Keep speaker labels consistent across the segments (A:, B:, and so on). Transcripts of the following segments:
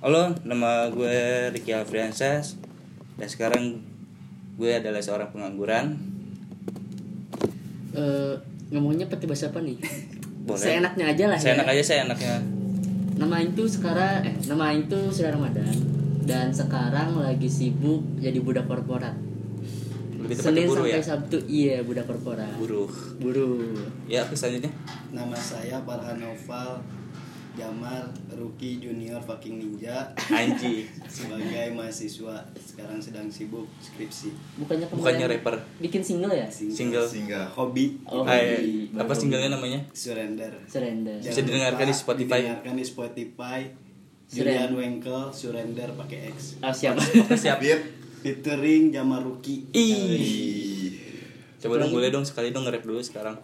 A: Halo, nama gue Ricky Alfriansyah dan sekarang gue adalah seorang pengangguran.
B: Eh, ngomongnya pakai bahasa apa nih?
A: Boleh.
B: Seenaknya aja lah.
A: Saya
B: ya.
A: enak aja, saya enaknya.
B: Nama itu sekarang eh nama itu sudah Ramadan dan sekarang lagi sibuk jadi budak korporat.
A: Lebih tepatnya
B: Senin
A: buruh
B: sampai
A: ya.
B: Sabtu iya budak korporat.
A: Buruh.
B: Buruh.
A: Ya, aku selanjutnya.
C: Nama saya Farhan Noval Jamar Rookie Junior Fucking Ninja
A: Anji.
C: sebagai mahasiswa sekarang sedang sibuk skripsi
B: Bukannya kemarin
A: Bukannya rapper.
B: bikin single ya?
A: Single.
C: single hobi
B: Oh,
A: Hai,
B: hobi.
A: iya. apa Ya.
B: Baru.
A: singlenya namanya?
C: surrender
B: Surrender.
A: Bisa didengarkan
C: lupa
A: di Spotify.
C: didengarkan di Spotify
B: Surrender.
C: Julian Wengkel surrender pakai X
B: Ah, siap.
A: Siap.
C: featuring Jamar Rookie
A: Ih. Coba dong boleh dong sekali dong nge-rap dulu sekarang.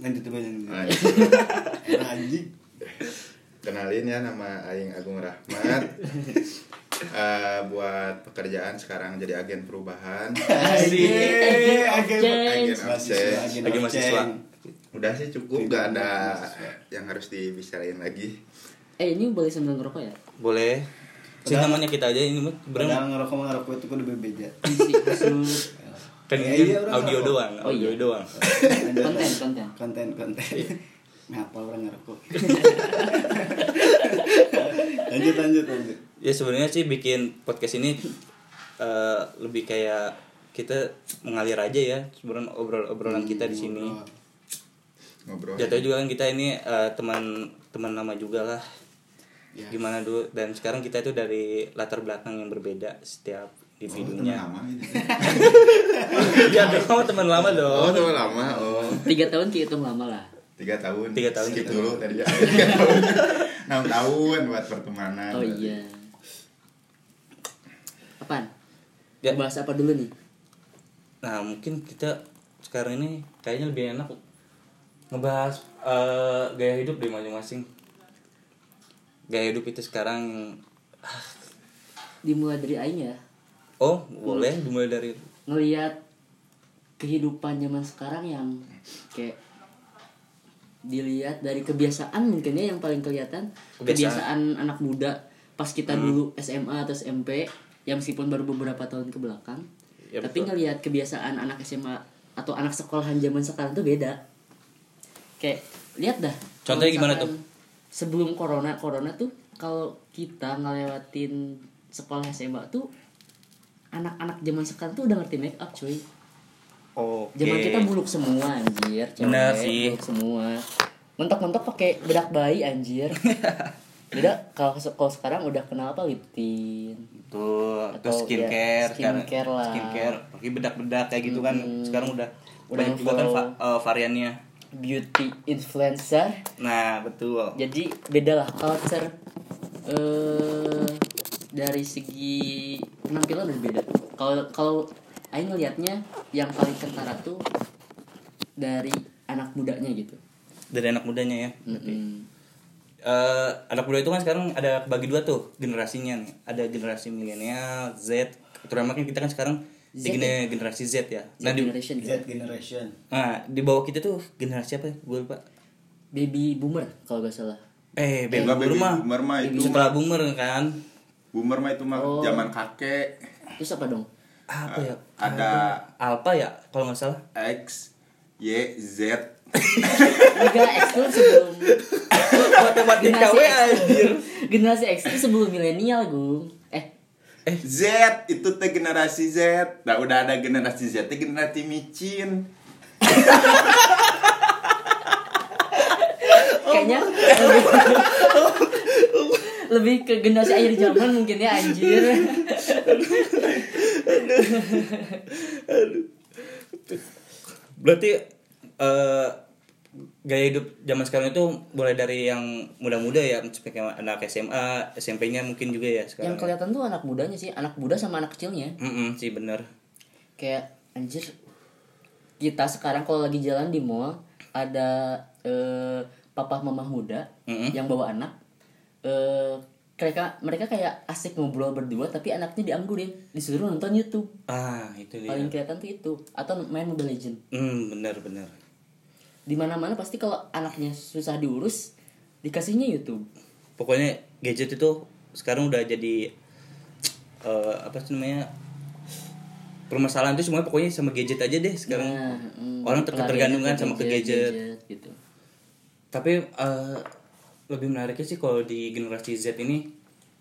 C: lanjut coba lanjut
D: Nah,
C: Nah, anjing
D: kenalin ya nama Aing Agung Rahmat. Eh, buat pekerjaan sekarang jadi agen perubahan.
B: Agent of
C: Agent of
B: change.
D: Agent.
C: mahasiswa agen
A: Lagi mahasiswa.
C: Oceng.
D: Udah sih cukup,
A: ya,
D: nggak ada yang harus dibicarain lagi.
B: Eh ini boleh sambil ngerokok ya?
A: Boleh. Sih
C: Padahal-
A: namanya kita aja ini mah bener
C: Padahal ngerokok mah ngerokok itu kudu bebeja
B: Isi kusut.
A: kan
C: Iya,
A: ini
C: iya, orang
A: audio
C: ngerokok.
A: doang,
B: Oh,
A: audio
B: iya.
A: doang.
B: konten konten. Iya.
C: konten konten ngapa orang ngerokok lanjut lanjut lanjut
A: Ya sebenarnya sih bikin podcast ini eh, lebih kayak kita mengalir aja ya sebenarnya obrol-obrolan kita di sini.
C: Hmm,
D: Ngobrol.
A: Jatuh juga kan kita ini eh, teman teman lama juga lah.
C: Ya.
A: Gimana dulu dan sekarang kita itu dari latar belakang yang berbeda setiap individunya.
D: Oh, lama. ini.
A: ya dong teman lama
D: Oh,
A: dong.
D: teman lama. Oh,
B: Tiga tahun dihitung lama lah.
D: tiga tahun.
A: Tiga tahun
D: Skip
A: gitu.
D: dulu tadi. ya. Tiga tahun. Enam tahun buat
A: Nah,
D: pertemanan.
B: Oh iya. Apaan?
A: Ya.
B: Bahas apa dulu nih?
A: Nah mungkin kita sekarang ini kayaknya lebih enak ngebahas eh, gaya hidup di masing-masing. Gaya hidup itu sekarang
B: Dimulai dari Aing ya.
A: oh boleh dimulai dari
B: Ngeliat kehidupan zaman sekarang yang kayak dilihat dari kebiasaan mungkin ya yang paling kelihatan
A: Kebiasaan. Hmm.
B: kebiasaan anak muda pas kita dulu SMA atau SMP ya meskipun baru beberapa tahun ke belakang
A: Ya,
B: tapi
A: betul.
B: ngelihat kebiasaan anak SMA atau anak sekolahan zaman sekarang tuh beda kayak lihat dah
A: Contohnya
B: kalau
A: gimana
B: misalkan sebelum corona corona tuh kalau kita ngelewatin sekolah SMA tuh anak-anak zaman sekarang tuh udah ngerti make up cuy
A: oh
B: zaman kita buluk semua anjir cewek
A: Bener sih.
B: buluk semua mentok-mentok pakai bedak bayi anjir beda kalau kalau sekarang udah kenal apa lip tint
A: Tuh,
B: Atau,
A: terus skincare,
B: ya, skincare lah.
A: skincare, pakai bedak-bedak kayak gitu kan. Sekarang udah,
B: Udah
A: banyak juga kan
B: follow.
A: va- eh, variannya.
B: beauty influencer
A: Nah, betul.
B: jadi beda lah culture eh dari segi penampilan udah beda kalau kalau Aing ngelihatnya yang paling kentara tuh dari anak mudanya gitu
A: Dari anak mudanya ya.
B: Mm-mm.
A: Eh, anak muda itu kan sekarang ada bagi dua tuh generasinya nih. Ada generasi milenial, Z. Terutama kan kita kan sekarang di
B: Z
A: gene- generasi Z ya.
B: Z
A: Nah, di,
B: generation
C: Z
B: gitu.
C: generation
A: nah, di bawah kita tuh generasi apa? ya? Gue lupa.
B: baby boomer kalau gak salah
A: Eh, baby
D: Enggak,
A: boomer
D: baby
A: mah.
D: boomer mah itu
A: Setelah boomer kan.
D: Boomer mah itu mah
B: Oh.
D: zaman kakek.
B: terus apa dong
A: Apa ya?
D: Ada
A: Alpha ya kalau nggak salah.
D: X, Y, Z.
B: enggak X tuh sebelum
A: Matematika
B: generasi
A: we
B: X tuh-
A: anjir.
B: generasi X tuh sebelum milenial gung eh
D: Z itu teh generasi Z. Nah, udah ada generasi Z, teh generasi micin.
B: kayaknya lebih, lebih ke generasi akhir zaman mungkin ya anjir
A: Berarti eh gaya hidup zaman sekarang itu mulai dari yang muda-muda ya, seperti anak SMA, SMP-nya mungkin juga ya
B: yang
A: sekarang.
B: kelihatan tuh anak mudanya sih anak muda sama anak kecilnya
A: Mm-mm, sih bener.
B: kayak anjir kita sekarang kalau lagi jalan di mall ada eh, papa mama muda
A: Mm-mm.
B: yang bawa anak eh mereka mereka kayak asik ngobrol berdua tapi anaknya dianggurin disuruh nonton YouTube
A: Ah, itu dia.
B: paling kelihatan tuh itu atau main Mobile Legend
A: Hmm, bener bener.
B: di mana mana pasti kalau anaknya susah diurus dikasihnya YouTube
A: Pokoknya gadget itu sekarang udah jadi eh, apa sih namanya permasalahan itu semuanya pokoknya sama gadget aja deh sekarang
B: Nah, mm,
A: orang terketergantungan sama
B: pelariannya
A: ke gadget,
B: gitu.
A: tapi eh, lebih menariknya sih kalau di generasi Z ini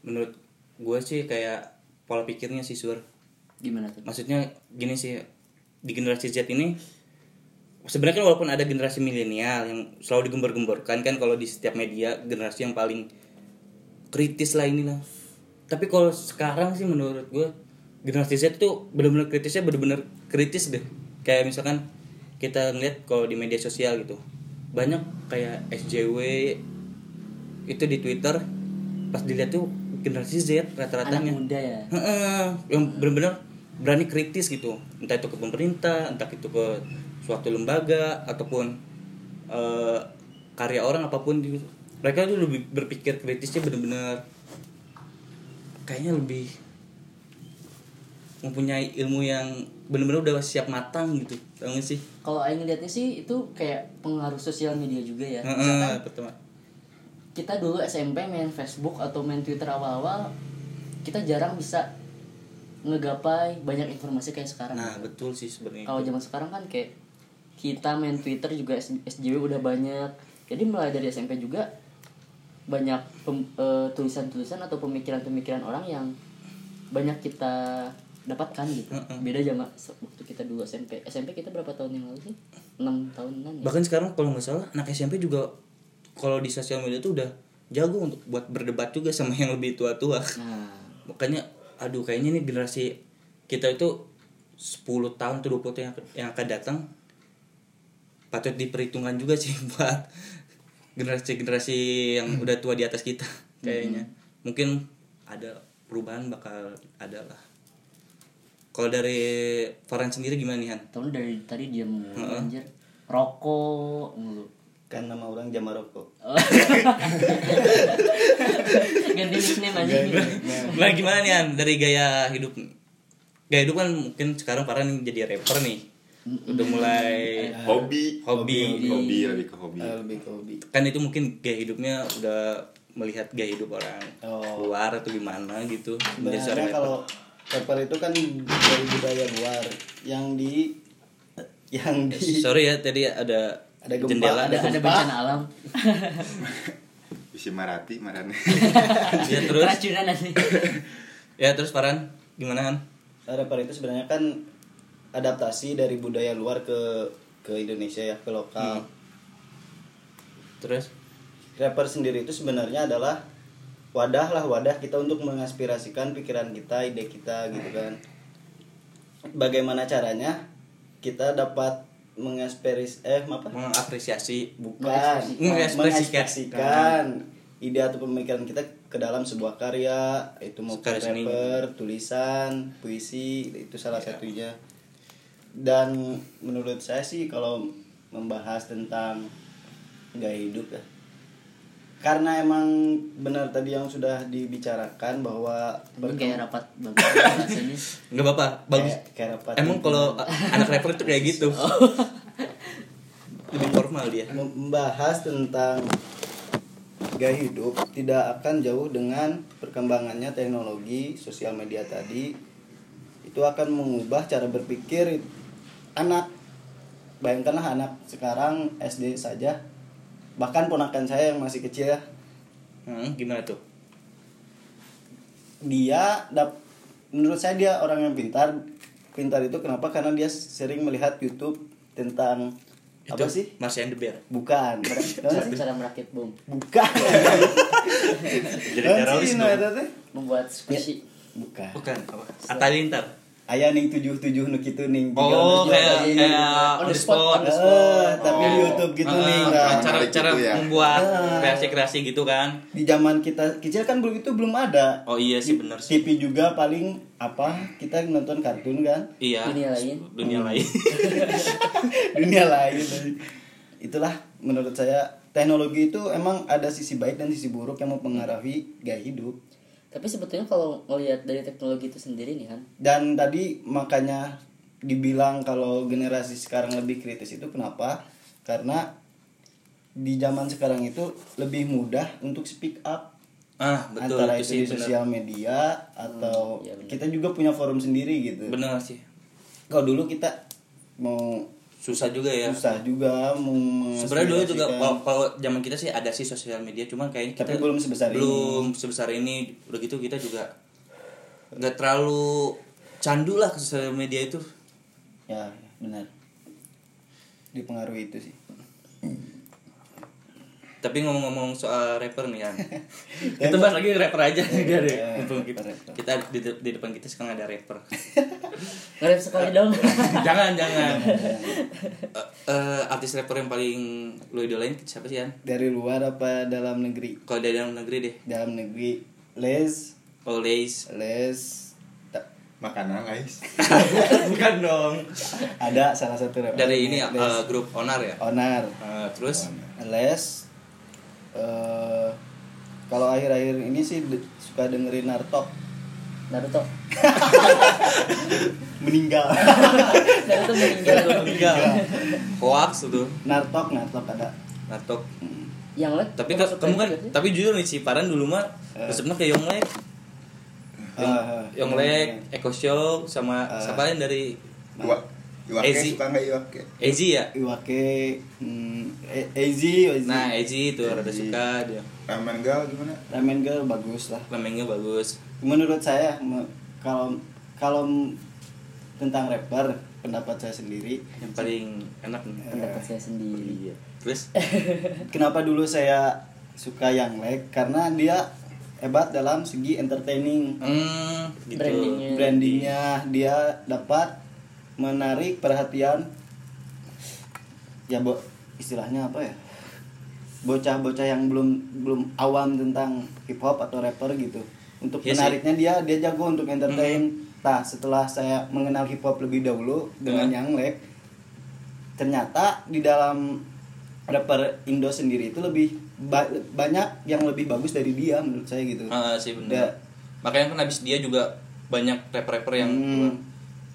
A: menurut gue sih kayak pola pikirnya sih sur
B: Gimana tuh?
A: maksudnya gini sih di generasi Z ini sebenarnya kan walaupun ada generasi milenial yang selalu digembar-gemborkan kan kalau di setiap media generasi yang paling kritis lah inilah tapi kalau sekarang sih menurut gue generasi Z tuh bener-bener kritisnya bener-bener kritis deh kayak misalkan kita ngeliat kalau di media sosial gitu banyak kayak SJW itu di Twitter pas dilihat tuh generasi Z
B: Anak
A: rata-ratanya
B: muda ya.
A: Heeh, yang benar-benar berani kritis gitu entah itu ke pemerintah entah itu ke suatu lembaga ataupun eh, karya orang apapun di mereka tuh lebih berpikir kritisnya benar-benar kayaknya lebih mempunyai ilmu yang benar-benar udah siap matang gitu tau gak sih
B: Kalau Aing lihatnya sih itu kayak pengaruh sosial media juga ya. Misalkan
A: Heeh, pertama
B: kita dulu SMP main Facebook atau main Twitter awal-awal kita jarang bisa ngegapai banyak informasi kayak sekarang.
A: nah betul sih sebenarnya
B: Kalau zaman sekarang kan kayak kita main Twitter juga S- SJW udah banyak. Jadi mulai dari SMP juga banyak pem- eh, tulisan-tulisan atau pemikiran-pemikiran orang yang banyak kita dapatkan gitu. Beda zaman se- waktu kita dulu SMP. SMP kita berapa tahun yang lalu sih? 6 tahunan ya.
A: bahkan sekarang kalau nggak salah anak SMP juga kalau di sosial media tuh udah jago untuk buat berdebat juga sama yang lebih tua-tua
B: Nah,
A: makanya aduh kayaknya nih generasi kita itu 10 tahun atau 20 tahun yang, yang akan datang patut diperhitungkan juga sih buat generasi-generasi yang udah tua di atas kita kayaknya mungkin ada perubahan bakal ada lah kalau dari Farhan sendiri gimana nih Han?
B: tahun dari tadi dia mulu anjir. Rokok mulu.
C: Kan nama orang Jama Rokok.
B: Ganti nickname aja gitu.
A: Nah gimana nih An dari gaya hidup Gaya hidup kan mungkin sekarang Farhan nih jadi rapper nih Udah mulai
D: hobi
A: Hmm. hobi
D: hobi lebih ke hobi
C: Eh, lebih ke hobi.
A: Kan itu mungkin gaya hidupnya udah melihat gaya hidup orang
C: Oh.
A: luar atau gimana gitu Menjadi seorang
C: Sebenarnya
A: rapper.
C: Nah, kalau rapper itu kan dari budaya luar yang di yang di
A: Sorry ya tadi ada
C: Ada gempa,
A: jendela
B: ada ada
C: Gempa.
B: bencana alam
D: isi marati marane
A: ya, terus
B: keracunan nanti
A: ya terus Farhan gimana Han?
C: rapper itu sebenarnya kan adaptasi dari budaya luar ke ke Indonesia ya ke lokal.
A: Terus
C: Rapper sendiri itu sebenarnya adalah wadah lah wadah kita untuk mengaspirasikan pikiran kita, ide kita gitu kan. Bagaimana caranya kita dapat mengaspiris eh apa?
A: mengapresiasi
C: bukan
A: Mengekspresikan.
C: mengekspresikan ide atau pemikiran kita ke dalam sebuah karya itu mau
A: Karya seni. Iya.
C: rapper tulisan puisi itu salah satunya dan menurut saya sih kalau membahas tentang gaya hidup ya karena emang benar tadi yang sudah dibicarakan bahwa
B: Ini
C: berkembang-
B: kayak rapat banget rasanya
A: nggak apa-apa bagus
C: Eh, Kayak- Oh. kayak rapat
A: Emang kalau anak rapper itu kayak gitu Lebih formal dia
C: membahas tentang gaya hidup tidak akan jauh dengan perkembangannya teknologi sosial media tadi itu akan mengubah cara berpikir anak bayangkanlah anak sekarang SD saja bahkan ponakan saya yang masih kecil ya
A: Hmm, gimana tuh?
C: dia dap- menurut saya dia orang yang pintar pintar itu kenapa karena dia sering melihat YouTube tentang apa sih
A: Marcia and the Bear.
C: bukan
B: cara, cara merakit bom
C: bukan
D: jadi
C: Naon sih,
D: teroris
C: nah,
D: dong
C: eta teh?
B: membuat squishy
C: bukan
A: Bukan. Apa? Atalintar.
C: ayah ning tujuh tujuh nu kitu ning
A: Oh,
C: tiga
A: kayak kayak
C: ratus dua puluh.
A: on the spot. Oh.
C: Eh, tapi di YouTube gitu nih nah.
A: Ah, cara cara
D: Gitu ya.
A: membuat
C: Ah.
A: kreasi-kreasi gitu kan.
C: di zaman kita kecil kan belum itu belum ada
A: Oh iya sih benar sih.
C: TV juga paling apa kita nonton kartun kan
A: Iya.
B: Dunia lain.
A: Dunia
C: Hmm.
A: lain.
C: dunia lain itulah menurut saya teknologi itu emang ada sisi baik dan sisi buruk yang mempengaruhi gaya hidup
B: tapi sebetulnya kalau ngelihat dari teknologi itu sendiri nih kan
C: dan tadi makanya dibilang kalau generasi sekarang lebih kritis itu kenapa karena di zaman sekarang itu lebih mudah untuk speak up
A: ah betul
C: antara
A: itu
C: itu,
A: sih
C: di
A: bener.
C: sosial media atau
B: iya bener.
C: kita juga punya forum sendiri gitu.
A: bener sih
C: Kalau dulu kita mau
A: susah juga ya
C: susah juga mau
A: sebenarnya dulu juga
C: mengaspirasikan.
A: kalau kalau zaman kita sih ada sih sosial media cuman kayaknya kita
C: Tapi belum sebesar ini.
A: belum sebesar ini udah gitu kita juga nggak terlalu candu lah ke sosial media itu
C: ya benar dipengaruhi itu sih
A: tapi ngomong-ngomong soal rapper nih kan kita bahas lagi rapper aja nih dari
C: iya,
A: mumpung kita,
C: rapper.
A: kita di, di depan kita sekarang ada rapper
B: Ngerap sekali dong.
A: jangan jangan
C: Iya,
A: Eh, eh, artis rapper yang paling lu idolain siapa sih kan
C: dari luar apa dalam negeri
A: kalau dari dalam negeri deh
C: dalam negeri les
A: always
C: les ta-
D: Makanan guys.
A: bukan dong
C: ada salah satu rapper
A: dari ini
C: les
A: eh, grup onar ya
C: onar
A: Eh, terus
C: les eh, kalau akhir-akhir ini sih de- suka dengerin nartok
B: Naruto.
C: meninggal
B: Naruto meninggal.
A: meninggal hoax itu
C: nartok nartok ada Hmm.
A: natok
B: Yang lo
A: tapi ka- kamu kan tapi jujur nih si Paran dulu mah resepnya kayak Yonglek
C: Eh. Ah,
A: Yonglek Eko Show sama siapa yang dari
D: Iwa, Iwake
A: Ezi.
D: suka nggak Iwake?
A: Ezi ya
C: Iwake hmm, E- Ezi Ezi.
A: nah Ezi itu rada
D: Ezi.
A: suka dia
D: Ramen gal gimana?
C: Ramen Girl bagus lah
A: lemengnya bagus
C: menurut saya me- kalau kalau m- tentang rapper pendapat saya sendiri
A: yang paling enak nih.
B: pendapat saya sendiri.
A: terus
C: kenapa dulu saya suka yang leg karena dia hebat dalam segi entertaining
A: hmm, gitu
B: Brandingnya.
C: brandingnya dia dapat menarik perhatian ya bo istilahnya apa ya bocah-bocah yang belum belum awam tentang hip hop atau rapper gitu
A: Iya
C: untuk
A: sih. Mm-hmm.
C: menariknya dia dia jago untuk entertain nah setelah saya mengenal hip hop lebih dahulu dengan
A: Ya.
C: yang lek ternyata di dalam rapper Indo sendiri itu lebih ba- banyak yang lebih bagus dari dia menurut saya gitu
A: Ah, sih
C: Dia-
A: benar makanya kan habis dia juga banyak rapper-rapper yang
C: Hmm.
A: keluar.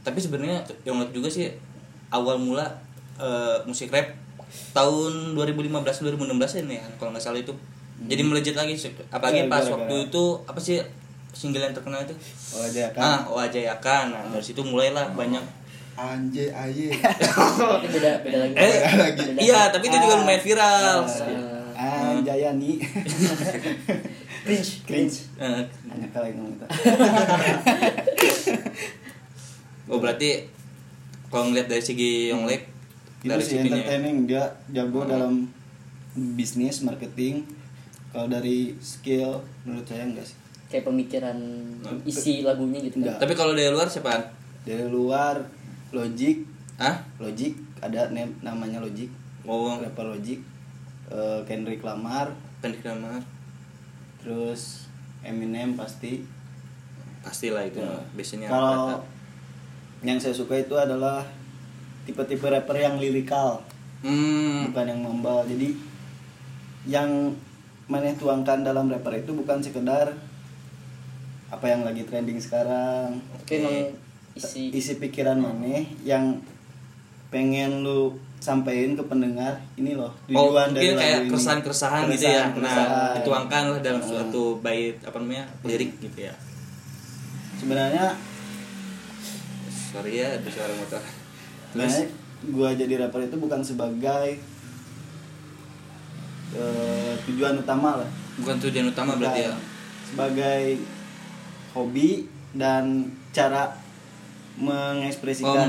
A: tapi sebenarnya Yonglek juga sih awal mula eh, musik rap tahun 2015 2016 ini ya kalau nggak salah itu jadi melejit lagi sih. apalagi
C: Hmm. Gara-gara.
A: pas waktu itu apa sih single yang terkenal itu
C: oh dia kan Oh.
A: ah oh aja ya kan nah, dari situ mulailah banyak Ah.
D: Anje aye.
B: Tapi beda beda lagi.
A: eh
D: lagi.
A: iya tapi itu juga
C: Ah.
A: lumayan viral
C: iya. Anjayani
B: Cringe. Cringe.
A: Eh,
C: Anak kali ngomong itu
A: oh berarti kalau ngeliat dari segi Yonglek
C: Itu
A: dari
C: sih
A: siginya ya.
C: entertaining Dia jago dalam bisnis, marketing Kalau dari skill menurut saya enggak sih
B: Kayak pemikiran
A: Nah,
B: isi lagunya gitu kan.
C: Enggak.
A: tapi kalau dari luar siapaan
C: Dari luar Logic
A: ah
C: Logic ada ne- namanya Logic
A: Oh,
C: Rapper Logic Eh, Kendrick Lamar
A: pendek banget.
C: Terus Eminem pasti
A: Pastilah itu biasanya
C: Ya. Kalau
A: rata.
C: yang saya suka itu adalah Tipe-tipe rapper yang lirikal
A: hmm,
C: bukan yang membal jadi yang maneh tuangkan dalam rapper itu bukan sekedar apa yang lagi trending sekarang
B: Tapi emang
A: Iya.
B: isi
C: isi pikiran maneh yang pengen lu sampein ke pendengar ini loh
A: oh,
C: tujuan
A: mungkin
C: dari lagu
A: kayak
C: ini Nah.
A: keresahan-keresahan gitu ya. Nah,
C: Keresahan-keresahan.
A: dituangkan lah dalam suatu bait apa namanya?
C: Hmm.
A: lirik gitu ya.
C: sebenarnya
A: Sorry ya, ada suara motor.
C: sebenarnya eh, gua jadi rapper itu bukan sebagai eh, tujuan utama lah
A: Bukan tujuan
C: Nah.
A: utama berarti ya.
C: sebagai hobi dan cara
A: Oh,
C: mengekspresikan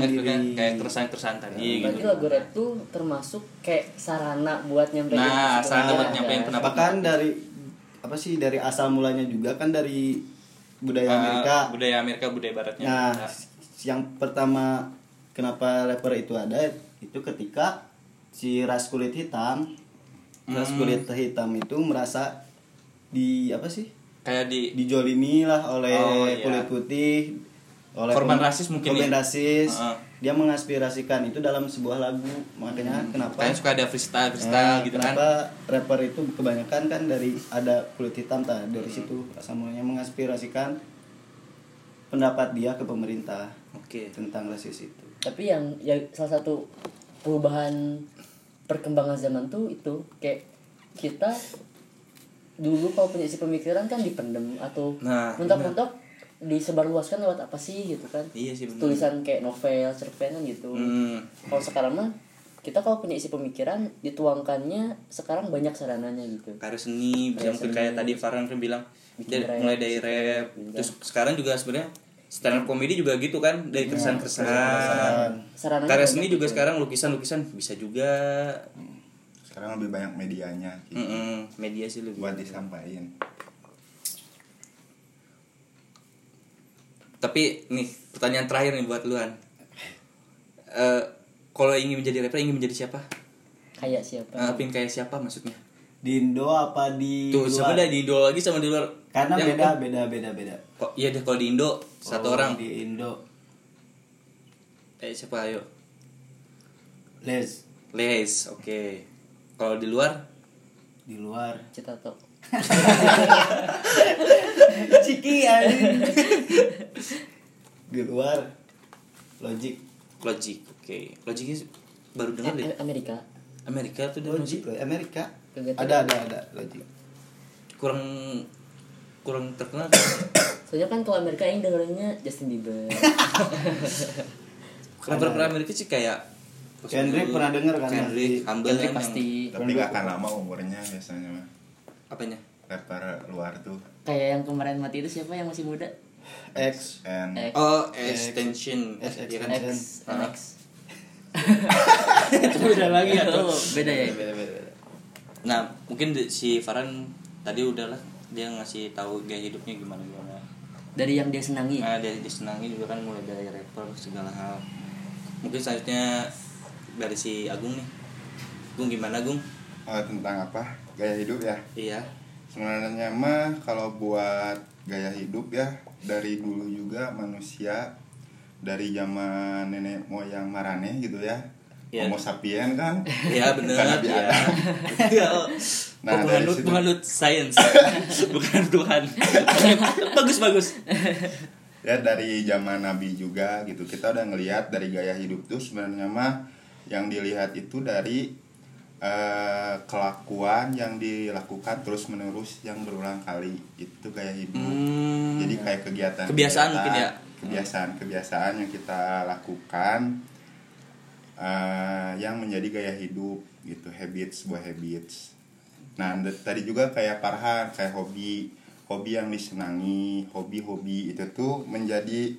A: mungkin kayak-
C: diri Nah.
A: kayak keresahan-keresahan tadi
B: Berarti
A: gitu.
B: lagu rap tuh termasuk kayak sarana buat nyampein
A: Nah, sarana
B: misi pendapat
A: buat
B: kan?
A: nyampein pendapat.
C: Ah, ya.
A: gitu.
C: bahkan dari apa sih dari asal mulanya juga kan dari budaya
A: Ah,
C: Amerika
A: budaya Amerika, budaya baratnya.
C: nah
A: Nah,
C: yang pertama kenapa rapper itu ada itu ketika si ras kulit hitam ras
A: Hmm.
C: kulit hitam itu merasa di apa sih
A: kayak di
C: dijolimi lah oleh
A: Oh, iya.
C: kulit putih oleh
A: Korban
C: pem-
A: rasis mungkin ya?
C: korban rasis
A: Heeh.
C: dia mengaspirasikan itu dalam sebuah lagu makanya kenapa
A: kayak Hmm. suka ada freestyle-freestyle
C: Nah,
A: gitu kan.
C: kenapa rapper itu kebanyakan kan dari ada kulit hitam tah dari
A: Hmm.
C: situ asamulanya mengaspirasikan pendapat dia ke pemerintah
A: Oke.
C: tentang rasis itu
B: tapi yang ya salah satu perubahan perkembangan zaman tuh itu kayak kita dulu kalau punya isi pemikiran kan dipendem atau
A: Nah,
B: mentok-mentok disebarluaskan lewat apa sih gitu kan
A: Iya sih, benar.
B: tulisan kayak novel cerpen kan gitu
A: Hmm.
B: kalau sekarang mah kita kalau punya isi pemikiran dituangkannya sekarang banyak sarananya gitu
A: karya seni bisa
B: Karya
A: mungkin
B: seni.
A: kayak tadi Farhan kan bilang
B: Bikin
A: dari,
B: rap,
A: mulai dari
B: bikin
A: rap
B: bikin
A: terus sekarang juga sebenarnya stand up comedy juga gitu kan dari keresahan-keresahan
B: sarananya
A: karya
B: banyak
A: seni juga
B: gitu.
A: sekarang lukisan-lukisan bisa juga
D: sekarang lebih banyak medianya gitu,
A: Mm-mm, media sih lebih
D: buat disampaikan
A: tapi nih pertanyaan terakhir nih buat luan Eh kalau ingin menjadi rapper ingin menjadi siapa
B: kayak siapa
A: Eh, pin kayak siapa maksudnya
C: di Indo apa di
A: tuh
C: luar?
A: sebenarnya di Indo lagi sama di luar
C: karena
A: Yang-
C: beda beda beda beda
A: kok iya deh kalau di Indo satu
C: Kalau
A: orang
C: di Indo
A: eh siapa ayo
C: les
A: Les oke kalau di luar
C: di luar
B: cita tok
C: ciki anjing. di luar logik
A: Logic, oke. Logicnya se- baru dengar deh.
B: Eh, Amerika
A: Amerika tuh dan
C: logik Amerika
B: Kagak tahu.
C: ada ada ada logik
A: kurang kurang terkenal.
B: soalnya kan kalau Amerika yang dengerinnya Justin Bieber
A: Rapper rapper Amerika sih kayak
C: Kendrick pernah denger kan?
A: Kendrick, Humble kan
B: Kendrick
A: yang-
B: pasti
D: tapi gak akan lama umurnya biasanya mah
A: apanya?
D: rapper luar tuh
B: kayak yang kemarin mati itu siapa yang masih muda
C: X
D: and
B: X
A: Oh, extension.
C: X- X-
A: Iya kan?
C: X.
B: X
A: Ah.
B: NX Itu beda lagi ya tuh beda ya
C: beda beda beda.
A: Nah, mungkin di- si Farhan tadi udahlah dia ngasih tahu gaya hidupnya gimana gimana.
B: dari yang dia senangi
A: Nah, dia disenangi juga kan mulai dari rapper segala hal. Mungkin selanjutnya dari si Agung nih. Gung gimana Gung?
D: eh, tentang apa gaya hidup ya
A: Iya.
D: sebenarnya mah kalau buat gaya hidup ya dari dulu juga manusia dari zaman nenek moyang marane gitu ya
A: Iya.
D: homo sapien kan
A: Iya bener
D: Bukan Nabi
A: ya.
D: Adam.
A: Iya.
D: Nah,
A: Oh,
D: dari
A: penganut
D: situ.
A: penganut sains bukan Tuhan. bagus bagus.
D: ya dari zaman nabi juga gitu kita udah ngelihat dari gaya hidup tuh sebenarnya mah yang dilihat itu dari eh, kelakuan yang dilakukan terus menerus yang berulang kali itu gaya hidup
A: Hmm.
D: jadi kayak kegiatan
A: Kebiasaan mungkin ya?
D: kebiasaan kebiasaan yang kita lakukan eh, yang menjadi gaya hidup gitu habits buah habits nah d- tadi juga kayak parhan kayak hobi hobi yang disenangi hobi-hobi itu tuh menjadi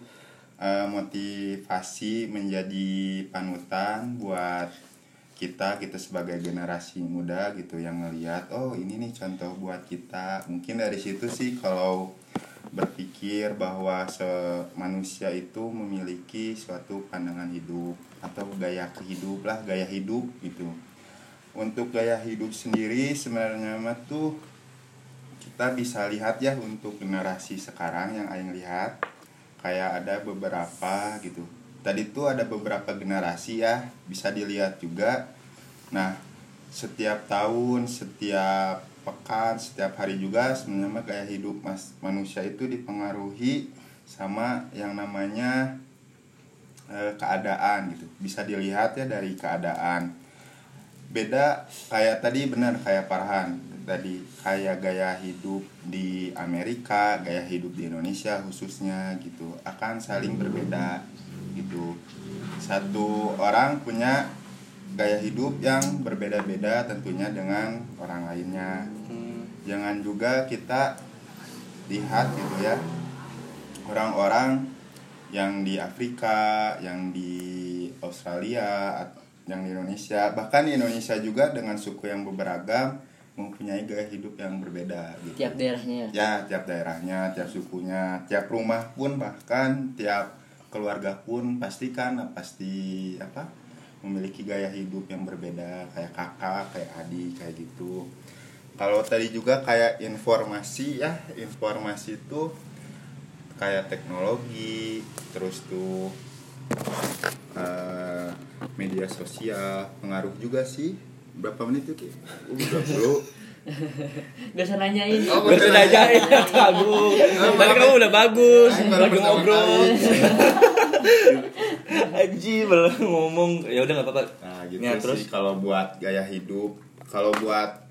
D: eh, motivasi menjadi panutan buat kita kita sebagai generasi muda gitu yang ngelihat oh ini nih contoh buat kita mungkin dari situ sih kalau berpikir bahwa se manusia itu memiliki suatu pandangan hidup atau gaya kehidup lah gaya hidup gitu untuk gaya hidup sendiri sebenarnya mah tuh kita bisa lihat ya untuk generasi sekarang yang aing lihat kayak ada beberapa gitu tadi tuh ada beberapa generasi ya bisa dilihat juga nah setiap tahun setiap pekan setiap hari juga sebenarnya mah gaya hidup mas manusia itu dipengaruhi sama yang namanya eh, keadaan gitu bisa dilihat ya dari keadaan beda kayak tadi benar kayak Parhan tadi kayak gaya hidup di Amerika gaya hidup di Indonesia khususnya gitu akan saling berbeda gitu satu orang punya gaya hidup yang berbeda-beda tentunya dengan orang lainnya jangan juga kita lihat gitu ya orang-orang yang di Afrika, yang di Australia, at- yang di Indonesia, bahkan di Indonesia juga dengan suku yang beragam mempunyai gaya hidup yang berbeda gitu.
B: tiap daerahnya
D: Ya, tiap daerahnya, tiap sukunya, tiap rumah pun bahkan tiap keluarga pun pastikan pasti apa memiliki gaya hidup yang berbeda kayak kakak, kayak adik, kayak gitu. Kalau tadi juga kayak informasi ya, informasi itu kayak teknologi, terus tuh eh, media sosial pengaruh juga sih. Berapa menit tuh Ki? Uh, udah bro.
B: gak usah nanyain
D: Oh,
A: Baru aja ya bagus. Tadi kamu udah bagus.
D: Aing baru
A: Lagi
D: pertama
A: ngobrol.
D: kali.
A: Aji baru ngomong. Ya udah nggak apa-apa.
D: Nah gitu
A: Ya,
D: sih kalau buat gaya hidup, kalau buat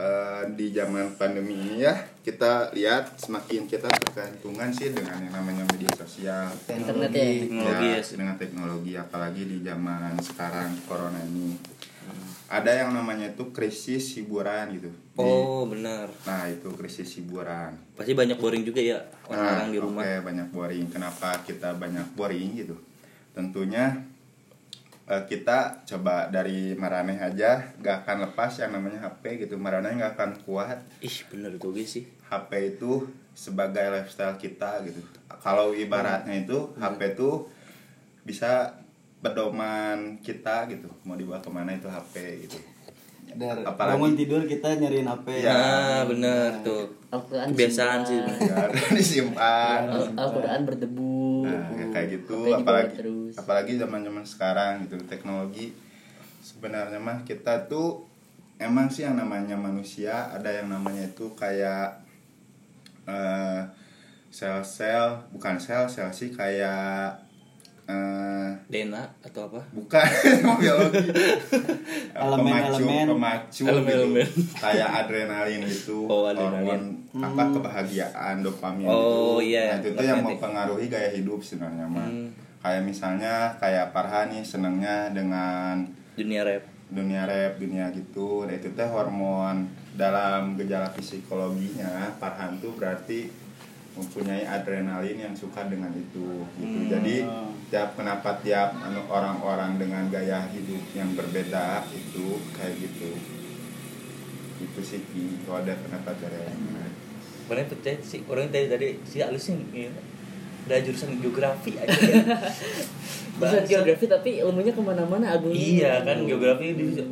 D: eh, di zaman pandemi ini ya kita lihat semakin kita tergantungan sih dengan yang namanya media sosial
B: Internet ya.
A: Teknologi ya, sih.
D: Iya, dengan teknologi apalagi di zaman sekarang corona ini Hmm. ada yang namanya itu krisis hiburan gitu Di-
A: Oh benar.
D: nah itu krisis hiburan
A: Pasti banyak boring juga ya orang-orang
D: Nah,
A: di rumah.
D: oke, banyak boring. Kenapa kita banyak boring gitu? Tentunya eh, kita coba dari Maraneh aja, gak akan lepas yang namanya HP gitu. Maraneh gak akan kuat.
A: Ih benar juga sih.
D: HP itu sebagai lifestyle kita gitu. Kalau ibaratnya itu
A: Hmm.
D: HP itu bisa pedoman kita gitu. Mau dibawa kemana itu HP gitu.
C: Dar,
D: Apalagi-
C: bangun tidur kita nyariin HP
D: Ya.
A: Nah benar tuh.
B: Al-Quran
A: Kebiasaan sih.
B: simpan.
D: Biar Kan disimpan.
B: Al- Al-Quran berdebu
D: Nah, ya kayak gitu
B: Tapi dibawa
D: apalagi
B: terus.
D: apalagi zaman-zaman sekarang gitu teknologi sebenarnya mah kita tuh emang sih yang namanya manusia ada yang namanya itu kayak eh, sel-sel bukan sel-sel sih kayak eh,
A: DNA atau apa?
D: bukan biologi
C: Elemen,
D: pemacu
C: elemen.
D: pemacu
A: Elemen,
D: gitu.
A: elemen.
D: kayak adrenalin gitu
A: Oh, adrenalin.
D: hormon apa
C: Hmm.
D: kebahagiaan dopamin
A: Oh,
D: gitu.
A: iya, Hmm.
D: nah, itu tuh
A: ngerti,
D: yang
A: ngerti.
D: mempengaruhi gaya hidup sebenarnya mah kayak misalnya kayak Parhan nih senengnya dengan
A: Dunia rap.
D: dunia rap dunia gitu nah itu teh hormon dalam gejala psikologinya Parhan tuh berarti mempunyai adrenalin yang suka dengan itu gitu jadi tiap kenapa tiap anu orang-orang dengan gaya hidup yang berbeda itu kayak gitu itu sih Ki, kalau ada pendapat dari yang lain.
A: Mana percaya sih orang tadi tadi si alusin ya. Udah jurusan geografi aja.
B: Bukan
A: Bahasa.
B: geografi tapi ilmunya kemana-mana agung
A: Iya kan geografi dia bisa-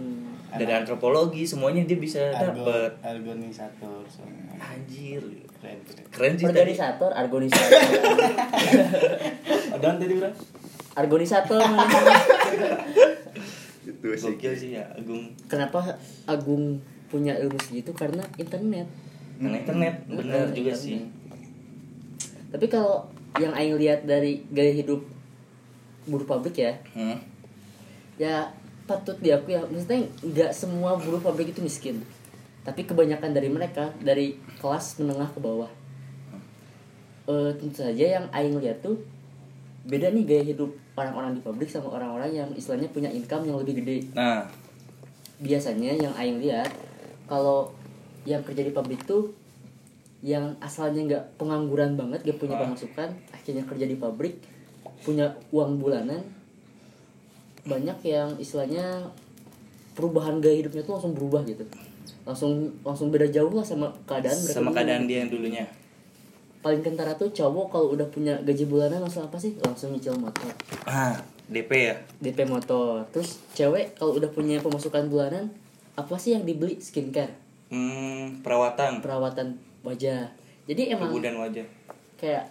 B: Hmm.
A: dari antropologi semuanya dia bisa dapet
C: Algonisator soalnya.
A: anjir
C: keren keren
A: keren
B: Oh,
A: sih tadi
B: Organisator, argonisator
C: Adan tadi berapa?
B: Argonisator mana?
D: itu sih Ki.
A: gokil sih ya Agung
B: Kenapa Agung punya ilmu segitu? Karena internet
A: karena internet bener
B: Karena
A: juga
B: internet.
A: sih
B: Tapi kalau yang Aing lihat dari gaya hidup buruh pabrik ya
A: hmm.
B: Ya patut diakui ya Maksudnya nggak semua buruh pabrik itu miskin Tapi kebanyakan dari mereka dari kelas menengah ke bawah Eh, Tentu saja yang Aing lihat tuh Beda nih gaya hidup orang-orang di pabrik sama orang-orang yang istilahnya punya income yang lebih gede
A: nah
B: biasanya yang aing lihat kalau yang kerja di pabrik tuh yang asalnya nggak pengangguran banget gak punya
A: Ah.
B: pemasukan akhirnya kerja di pabrik punya uang bulanan banyak yang istilahnya perubahan gaya hidupnya tuh langsung berubah gitu langsung langsung beda jauh lah sama keadaan mereka
A: sama
B: dulu.
A: keadaan dia yang dulunya
B: paling kentara tuh cowok kalau udah punya gaji bulanan langsung apa sih langsung nyicil motor
A: ah DP ya
B: DP motor terus cewek kalau udah punya pemasukan bulanan apa sih yang dibeli skincare
A: hmm, perawatan
B: perawatan wajah. Jadi emang
A: tubuh dan wajah
B: kayak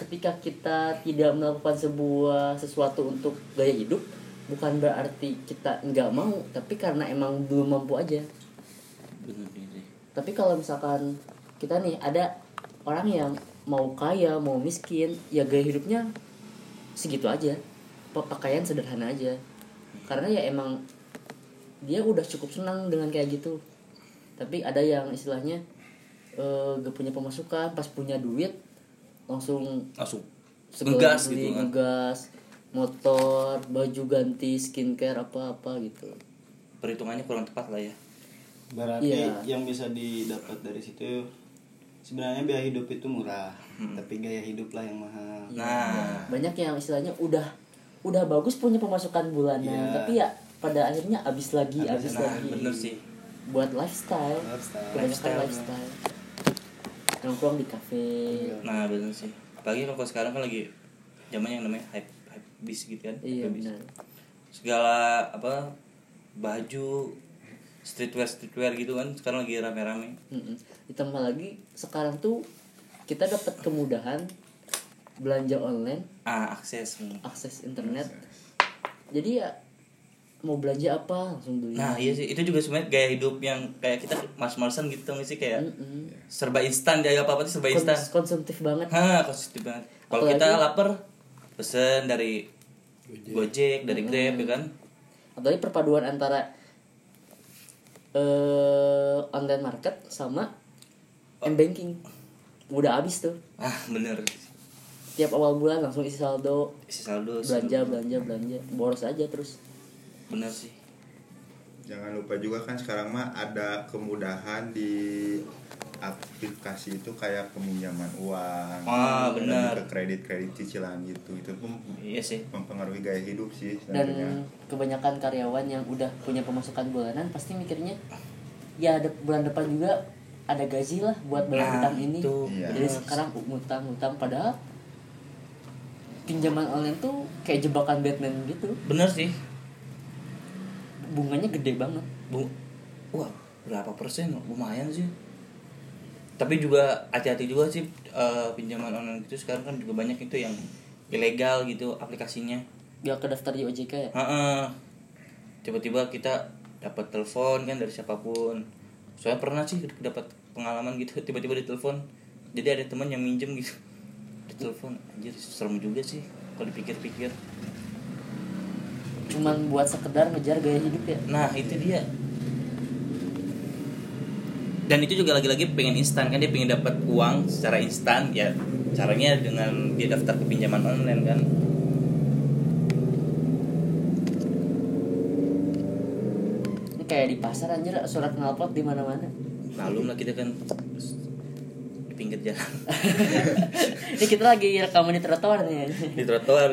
B: ketika kita tidak melakukan sebuah sesuatu untuk gaya hidup bukan berarti kita nggak mau tapi karena emang belum mampu aja
A: bener sih
B: tapi kalau misalkan kita nih ada orang yang mau kaya mau miskin ya gaya hidupnya segitu aja Pa- pakaian sederhana aja karena ya emang dia udah cukup senang dengan kayak gitu tapi ada yang istilahnya eh, gak punya pemasukan pas punya duit langsung
A: langsung
B: segala
A: ngegas
B: beli,
A: gitu kan
B: ngegas, motor baju ganti skincare apa apa gitu
A: perhitungannya kurang tepat lah ya
C: Berarti
B: Iya.
C: yang bisa didapat dari situ sebenarnya biaya hidup itu murah, tapi gaya hidup lah yang mahal.
A: nah
B: banyak yang istilahnya udah udah bagus punya pemasukan bulanan
C: Iya.
B: tapi ya pada akhirnya habis lagi habis
A: nah
B: lagi
A: bener sih
B: buat lifestyle
C: Lifestyle.
B: kebanyakan
A: Lifestyle.
B: lifestyle nongkrong di kafe
A: nah bener sih apalagi kalau sekarang kan lagi zaman yang namanya hype hype bis gitu kan
B: iya
A: Hypebeast.
B: benar
A: segala apa baju streetwear streetwear gitu kan sekarang lagi rame-rame
B: Mm-mm. ditambah lagi sekarang tuh kita dapat kemudahan belanja online
A: ah akses hmm.
B: akses internet jadi ya mau belanja apa langsung beli
A: nah iya sih itu juga sebenarnya gaya hidup yang kayak kita mas-malasan gitu nggak sih kayak
B: Mm-mm.
A: serba instan jadi apa apa tuh serba instan
B: Kons- konsumtif banget
A: ha konsumtif banget kalau
B: Apalagi-
A: kita lapar pesen dari
B: Hmm.
A: gojek, dari grab ya kan
B: apalagi perpaduan antara eh online market sama m banking udah habis tuh
A: ah bener
B: tiap awal bulan langsung isi saldo
A: isi saldo isi
B: belanja
A: saldo.
B: belanja belanja boros aja terus
A: bener sih
D: Jangan lupa juga kan sekarang mah ada kemudahan di aplikasi itu kayak peminjaman uang,
A: Ah,
D: lebih
A: benar.
D: ke kredit-kredit cicilan gitu. Itu pun
A: iya sih
D: mempengaruhi gaya hidup sih
B: dan
D: sebenarnya.
B: kebanyakan karyawan yang udah punya pemasukan bulanan pasti mikirnya ya de- bulan depan juga ada gaji lah buat bayar
A: Nah,
B: utang ini
A: itu.
D: Iya.
B: jadi sekarang ngutang ngutang padahal pinjaman online tuh kayak jebakan Batman gitu
A: bener sih
B: bunganya gede banget
A: bu wah berapa persen lumayan sih tapi juga hati-hati juga sih eh, pinjaman online itu sekarang kan juga banyak itu yang ilegal gitu aplikasinya
B: gak ke daftar di OJK ya
A: Heeh. tiba-tiba kita dapat telepon kan dari siapapun soalnya pernah sih dapat pengalaman gitu tiba-tiba ditelepon jadi ada teman yang minjem gitu ditelepon anjir serem juga sih kalau dipikir-pikir
B: cuman buat sekedar ngejar gaya hidup ya
A: nah itu dia dan itu juga lagi-lagi pengen instan kan dia pengen dapat uang secara instan ya caranya dengan dia daftar ke pinjaman online kan
B: ini kayak di pasar anjir surat knalpot di mana mana
A: lalu lah kita kan di pinggir jalan
B: ini kita lagi rekaman di trotoar nih
A: di trotoar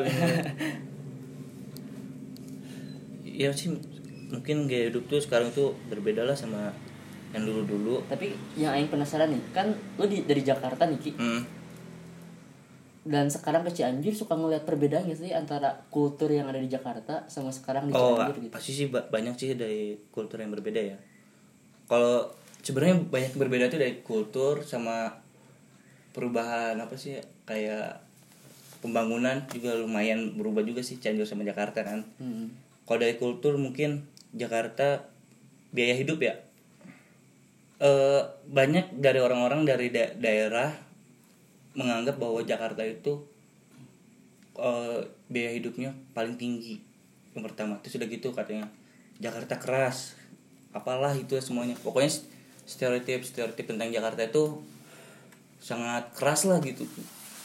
A: ya sih mungkin gaya hidup tuh sekarang tuh berbeda lah sama yang dulu dulu
B: tapi yang aing penasaran nih kan lu di- dari Jakarta nih Ki
A: hmm.
B: dan sekarang ke Cianjur suka ngeliat perbedaan gak sih antara kultur yang ada di Jakarta sama sekarang di
A: oh
B: Cianjur gitu
A: pasti sih ba- banyak sih dari kultur yang berbeda ya kalau sebenarnya banyak yang berbeda tuh dari kultur sama perubahan apa sih ya, kayak pembangunan juga lumayan berubah juga sih Cianjur sama Jakarta kan
B: Hmm.
A: kalau dari kultur mungkin Jakarta biaya hidup ya Eh, banyak dari orang-orang dari da- daerah menganggap bahwa Jakarta itu eh, biaya hidupnya paling tinggi yang pertama itu sudah gitu katanya Jakarta keras apalah itu semuanya pokoknya stereotip stereotip tentang Jakarta itu sangat keras lah gitu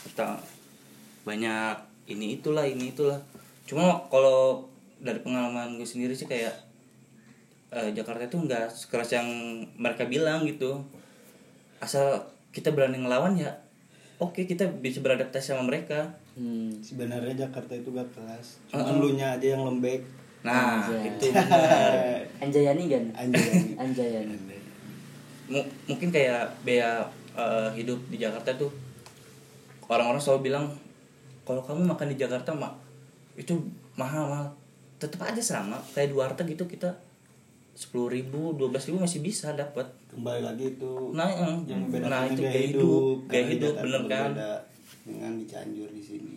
A: kita banyak ini itulah ini itulah cuma kalau dari pengalaman gue sendiri sih kayak eh, Jakarta itu nggak sekeras yang mereka bilang gitu asal kita berani ngelawan ya oke kita bisa beradaptasi sama mereka
B: Hmm.
C: Sebenarnya Jakarta itu gak keras, cuman lu nya aja yang lembek. Eh,
A: nah
B: Anjay.
A: itu benar
B: Anjayani kan
C: Anjay.
B: Anjayani
A: Mu- mungkin kayak biaya eh, hidup di Jakarta tuh orang-orang selalu bilang kalau kamu makan di Jakarta mak itu mahal mahal tetap aja sama kayak di warteg gitu kita sepuluh ribu dua ribu masih bisa dapat
C: Kembali lagi itu
A: nah, eh,
C: yang
A: nah
C: membedakan
A: itu
C: gaya hidup,
A: hidup gaya hidup
C: Karena di Jakarta
A: bener kan
C: berbeda Dengan di Cianjur di sini.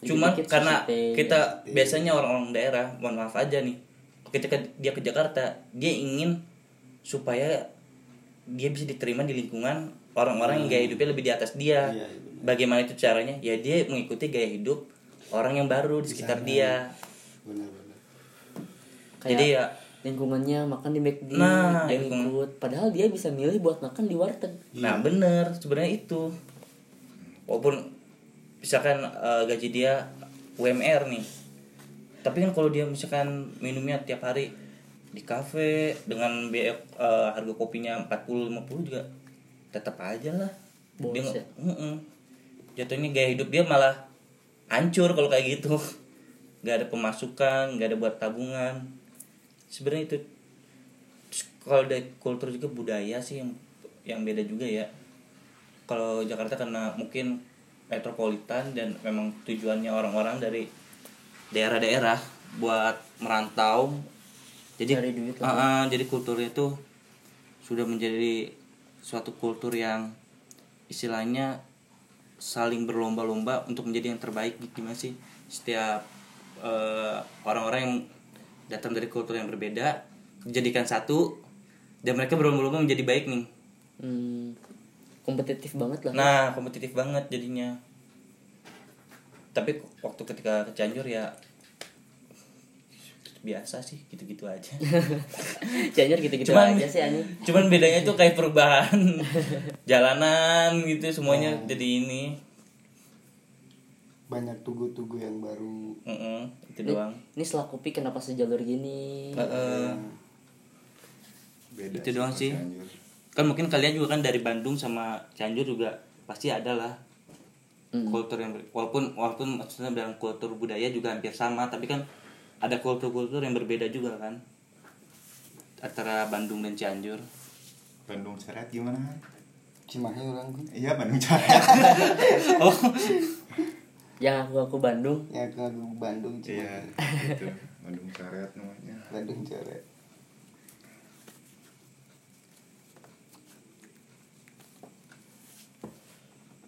A: cuman
B: Dikit-dikit
A: karena
B: sate.
A: kita
C: Sate.
A: biasanya orang-orang daerah mohon maaf aja nih ketika dia ke Jakarta dia ingin supaya dia bisa diterima di lingkungan orang-orang yang gaya hidupnya lebih di atas dia
C: Iya, iya, benar.
A: bagaimana itu caranya ya dia mengikuti gaya hidup orang yang baru di sekitar
C: sana.
A: dia
C: Benar-benar.
B: Kayak
A: jadi ya
B: lingkungannya makan di McD
A: Nah,
B: yang
A: lingkungan.
B: ikut padahal dia bisa milih buat makan di warteg
A: Nah bener sebenarnya itu walaupun misalkan eh, gaji dia UMR nih, tapi kan kalau dia misalkan minumnya tiap hari di kafe dengan biaya eh, harga kopinya 40-50 juga tetap aja lah. Dia
B: Boros
A: nge-
B: ya?
A: Mm-mm. Jatuhnya gaya hidup dia malah hancur kalau kayak gitu. Gak ada pemasukan, gak ada buat tabungan. Sebenarnya itu Terus kalau dari kultur juga budaya sih yang yang beda juga ya kalau Jakarta karena mungkin metropolitan dan memang tujuannya orang-orang dari daerah-daerah buat merantau jadi
B: Cari duit lah.
A: Ah, ah, jadi kulturnya itu sudah menjadi suatu kultur yang istilahnya saling berlomba-lomba untuk menjadi yang terbaik gitu gimana sih setiap eh, orang-orang yang datang dari kultur yang berbeda dijadikan satu dan mereka berlomba-lomba menjadi baik nih
B: hmm, kompetitif banget lah
A: nah kompetitif banget jadinya tapi waktu ketika ke Cianjur ya biasa sih gitu-gitu aja
B: Cianjur gitu-gitu
A: Cuman-
B: aja sih anjing.
A: cuman bedanya tuh kayak perubahan jalanan gitu semuanya jadi ini
C: banyak tugu-tugu yang baru
A: Heeh, itu
B: Ini,
A: doang
B: ini setelah kopi kenapa sejalur gini?
A: Heeh.
D: Beda
A: Itu doang
D: sama
A: sih.
D: Cianjur.
A: kan mungkin kalian juga kan dari Bandung sama Cianjur juga pasti ada lah kultur yang ber- walaupun walaupun maksudnya dalam kultur budaya juga hampir sama tapi kan ada kultur-kultur yang berbeda juga kan antara Bandung dan Cianjur
D: Bandung seret gimana? Han?
C: cimahi orang kan? gue
D: Iya Bandung seret.
A: oh
B: Yang aku aku Bandung.
C: ya ke Bandung
D: Iya,
C: cimahi
D: gitu. Bandung seret namanya.
C: Bandung coret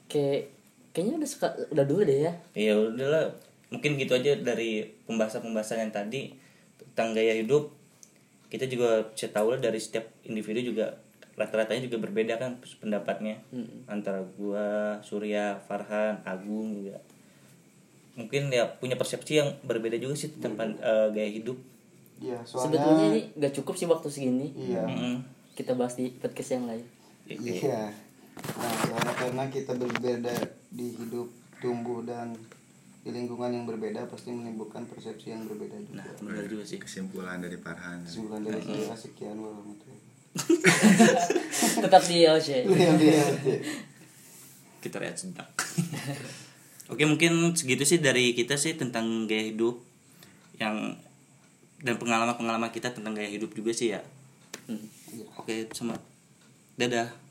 B: Kayak kayaknya udah suka udah dulu deh ya.
A: ya udahlah mungkin gitu aja dari pembahasan-pembahasan yang tadi tentang gaya hidup kita juga bisa tahu lah dari setiap individu juga rata-ratanya juga berbeda kan pendapatnya antara gua Surya Farhan Agung juga mungkin ya punya persepsi yang berbeda juga sih tentang pan- eh, gaya hidup
C: iya soalnya
B: Sebetulnya ini gak cukup sih waktu segini.
C: iya
A: Mm-mm.
B: Kita bahas di podcast yang lain.
C: iya nah soalnya karena kita berbeda di hidup tumbuh dan di lingkungan yang berbeda pasti menimbulkan persepsi yang berbeda
A: nah
C: juga
A: benar juga sih
D: Kesimpulan dari Farhan.
C: Kesimpulan dari saya sekian warahmatullahi
B: Tetap di LC.
C: Iya, wabarakatuh.
A: kita lihat sedak oke mungkin segitu sih dari kita sih tentang gaya hidup yang dan pengalaman pengalaman kita tentang gaya hidup juga sih ya oke sama Hmm. dadah